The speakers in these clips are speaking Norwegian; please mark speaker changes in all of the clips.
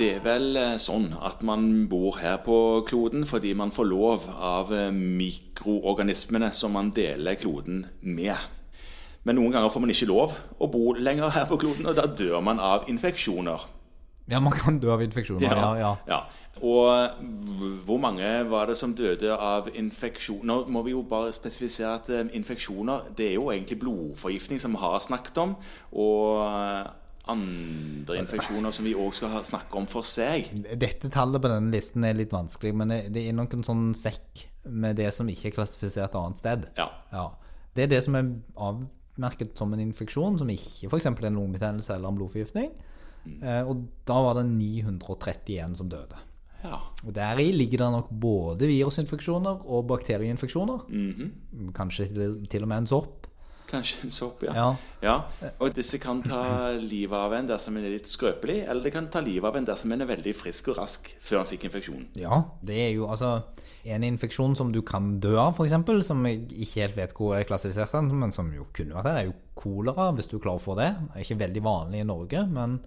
Speaker 1: Det er vel eh, sånn at man bor her på kloden fordi man får lov av eh, mikroorganismene som man deler kloden med. Men noen ganger får man ikke lov å bo lenger her på kloden, og da dør man av infeksjoner.
Speaker 2: Ja, man kan dø av infeksjoner. Ja, ja.
Speaker 1: Ja. Og hvor mange var det som døde av infeksjon? Nå må vi jo bare spesifisere at eh, infeksjoner det er jo egentlig blodforgiftning som vi har snakket om. Og andre infeksjoner som vi òg skal ha- snakke om for seg.
Speaker 2: Dette tallet på denne listen er litt vanskelig, men det det er nok en sånn sekk med det som ikke er klassifisert annet sted.
Speaker 1: Ja.
Speaker 2: Det er det som er avmerket som en infeksjon, som ikke f.eks. en lungebetennelse eller en blodforgiftning. Eh, Og da var det 931 som døde.
Speaker 1: ja.
Speaker 2: Og Deri ligger det nok både virusinfeksjoner og bakterieinfeksjoner. Kanskje til- til og med en sopp.
Speaker 1: Kanskje en sopp, ja.
Speaker 2: Ja.
Speaker 1: Og disse kan ta livet av en dersom en er litt skrøpelig, eller det kan ta livet av en dersom en er veldig frisk og rask før en fikk infeksjonen.
Speaker 2: Ja, det er jo altså en infeksjon som du kan dø av, f.eks., som jeg ikke helt vet hvor er klassifisert, den, men som jo kunne vært her, er jo kolera, hvis du er klar for det. Det er ikke veldig vanlig i Norge, men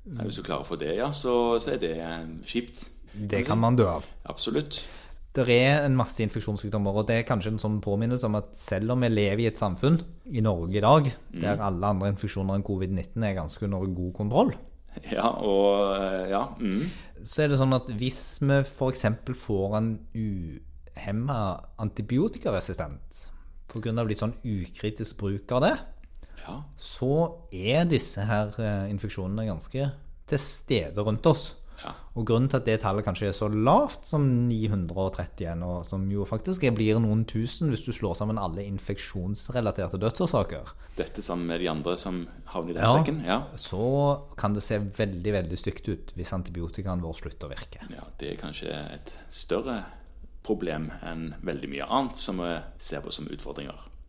Speaker 2: Mm.
Speaker 1: Ja, Hvis du klarer for det, ja, så, så er det eh, kjipt.
Speaker 2: det kan man dø av.
Speaker 1: Absolutt.
Speaker 2: Det er en masse infeksjonssykdommer, og det er kanskje en sånn påminnelse om at selv om vi lever i et samfunn i Norge i dag, der alle andre infeksjoner enn covid-19 er ganske under god kontroll,
Speaker 1: Ja, og eh, ja. Mm.
Speaker 2: så er det sånn at hvis vi f.eks. får en uhemma antibiotikaresistent pga. litt sånn ukritisk bruk av det,
Speaker 1: ja.
Speaker 2: så er disse her eh, infeksjonene ganske til stede rundt oss.
Speaker 1: Ja.
Speaker 2: Og grunnen til at det tallet kanskje er så lavt som 931, og som jo faktisk er- blir noen tusen hvis du slår sammen alle infeksjonsrelaterte dødsårsaker,
Speaker 1: Dette sammen med de andre som havner i den
Speaker 2: Ja.
Speaker 1: sekken. Ja.
Speaker 2: så kan det se veldig, veldig stygt ut hvis antibiotikaen vår slutter å virke.
Speaker 1: ja, det er kanskje et større problem enn veldig mye annet som vi eh, ser på som utfordringer.